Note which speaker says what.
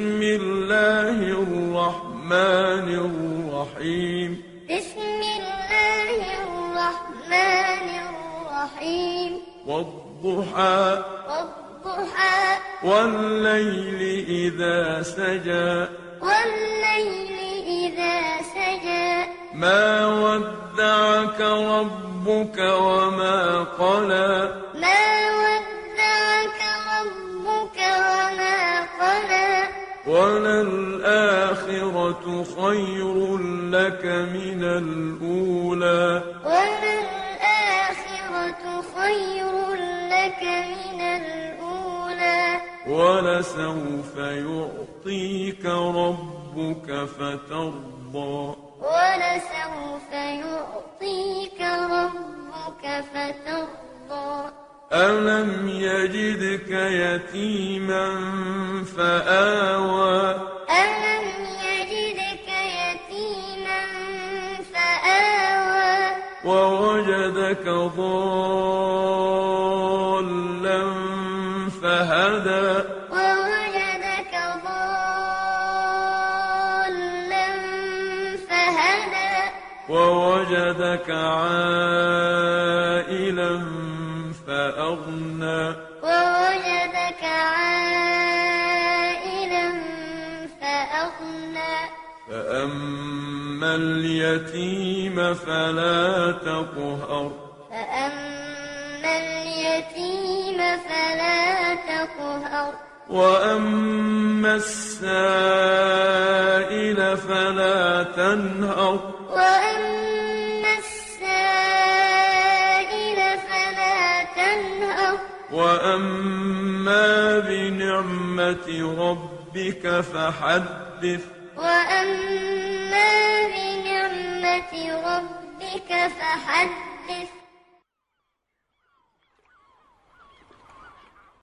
Speaker 1: بسم الله الرحمن الرحيم
Speaker 2: بسم الله الرحمن الرحيم
Speaker 1: والضحى
Speaker 2: والضحى
Speaker 1: والليل إذا سجى
Speaker 2: والليل إذا سجى
Speaker 1: ما ودعك ربك وما قلى
Speaker 2: ما ودعك ربك وما قلى
Speaker 1: وللآخرة خير لك من الأولى
Speaker 2: وللآخرة خير لك من الأولى
Speaker 1: ولسوف يعطيك ربك فترضى
Speaker 2: ولسوف يعطيك ربك فترضى
Speaker 1: ألم يجدك يتيما فآوى
Speaker 2: ألم يجدك يتيما فآوى
Speaker 1: ووجدك ضالا فهدى
Speaker 2: ووجدك ضالا فهدى
Speaker 1: ووجدك عائلا فأغنى
Speaker 2: ووجدك عائلا فأغنى
Speaker 1: فأما اليتيم فلا تقهر
Speaker 2: فأما اليتيم فلا تقهر
Speaker 1: وأما السائل فلا تنهر
Speaker 2: وأما السائل فلا تنهر
Speaker 1: وأما بنعمة ربك فحدث
Speaker 2: وأما بنعمة ربك فحدث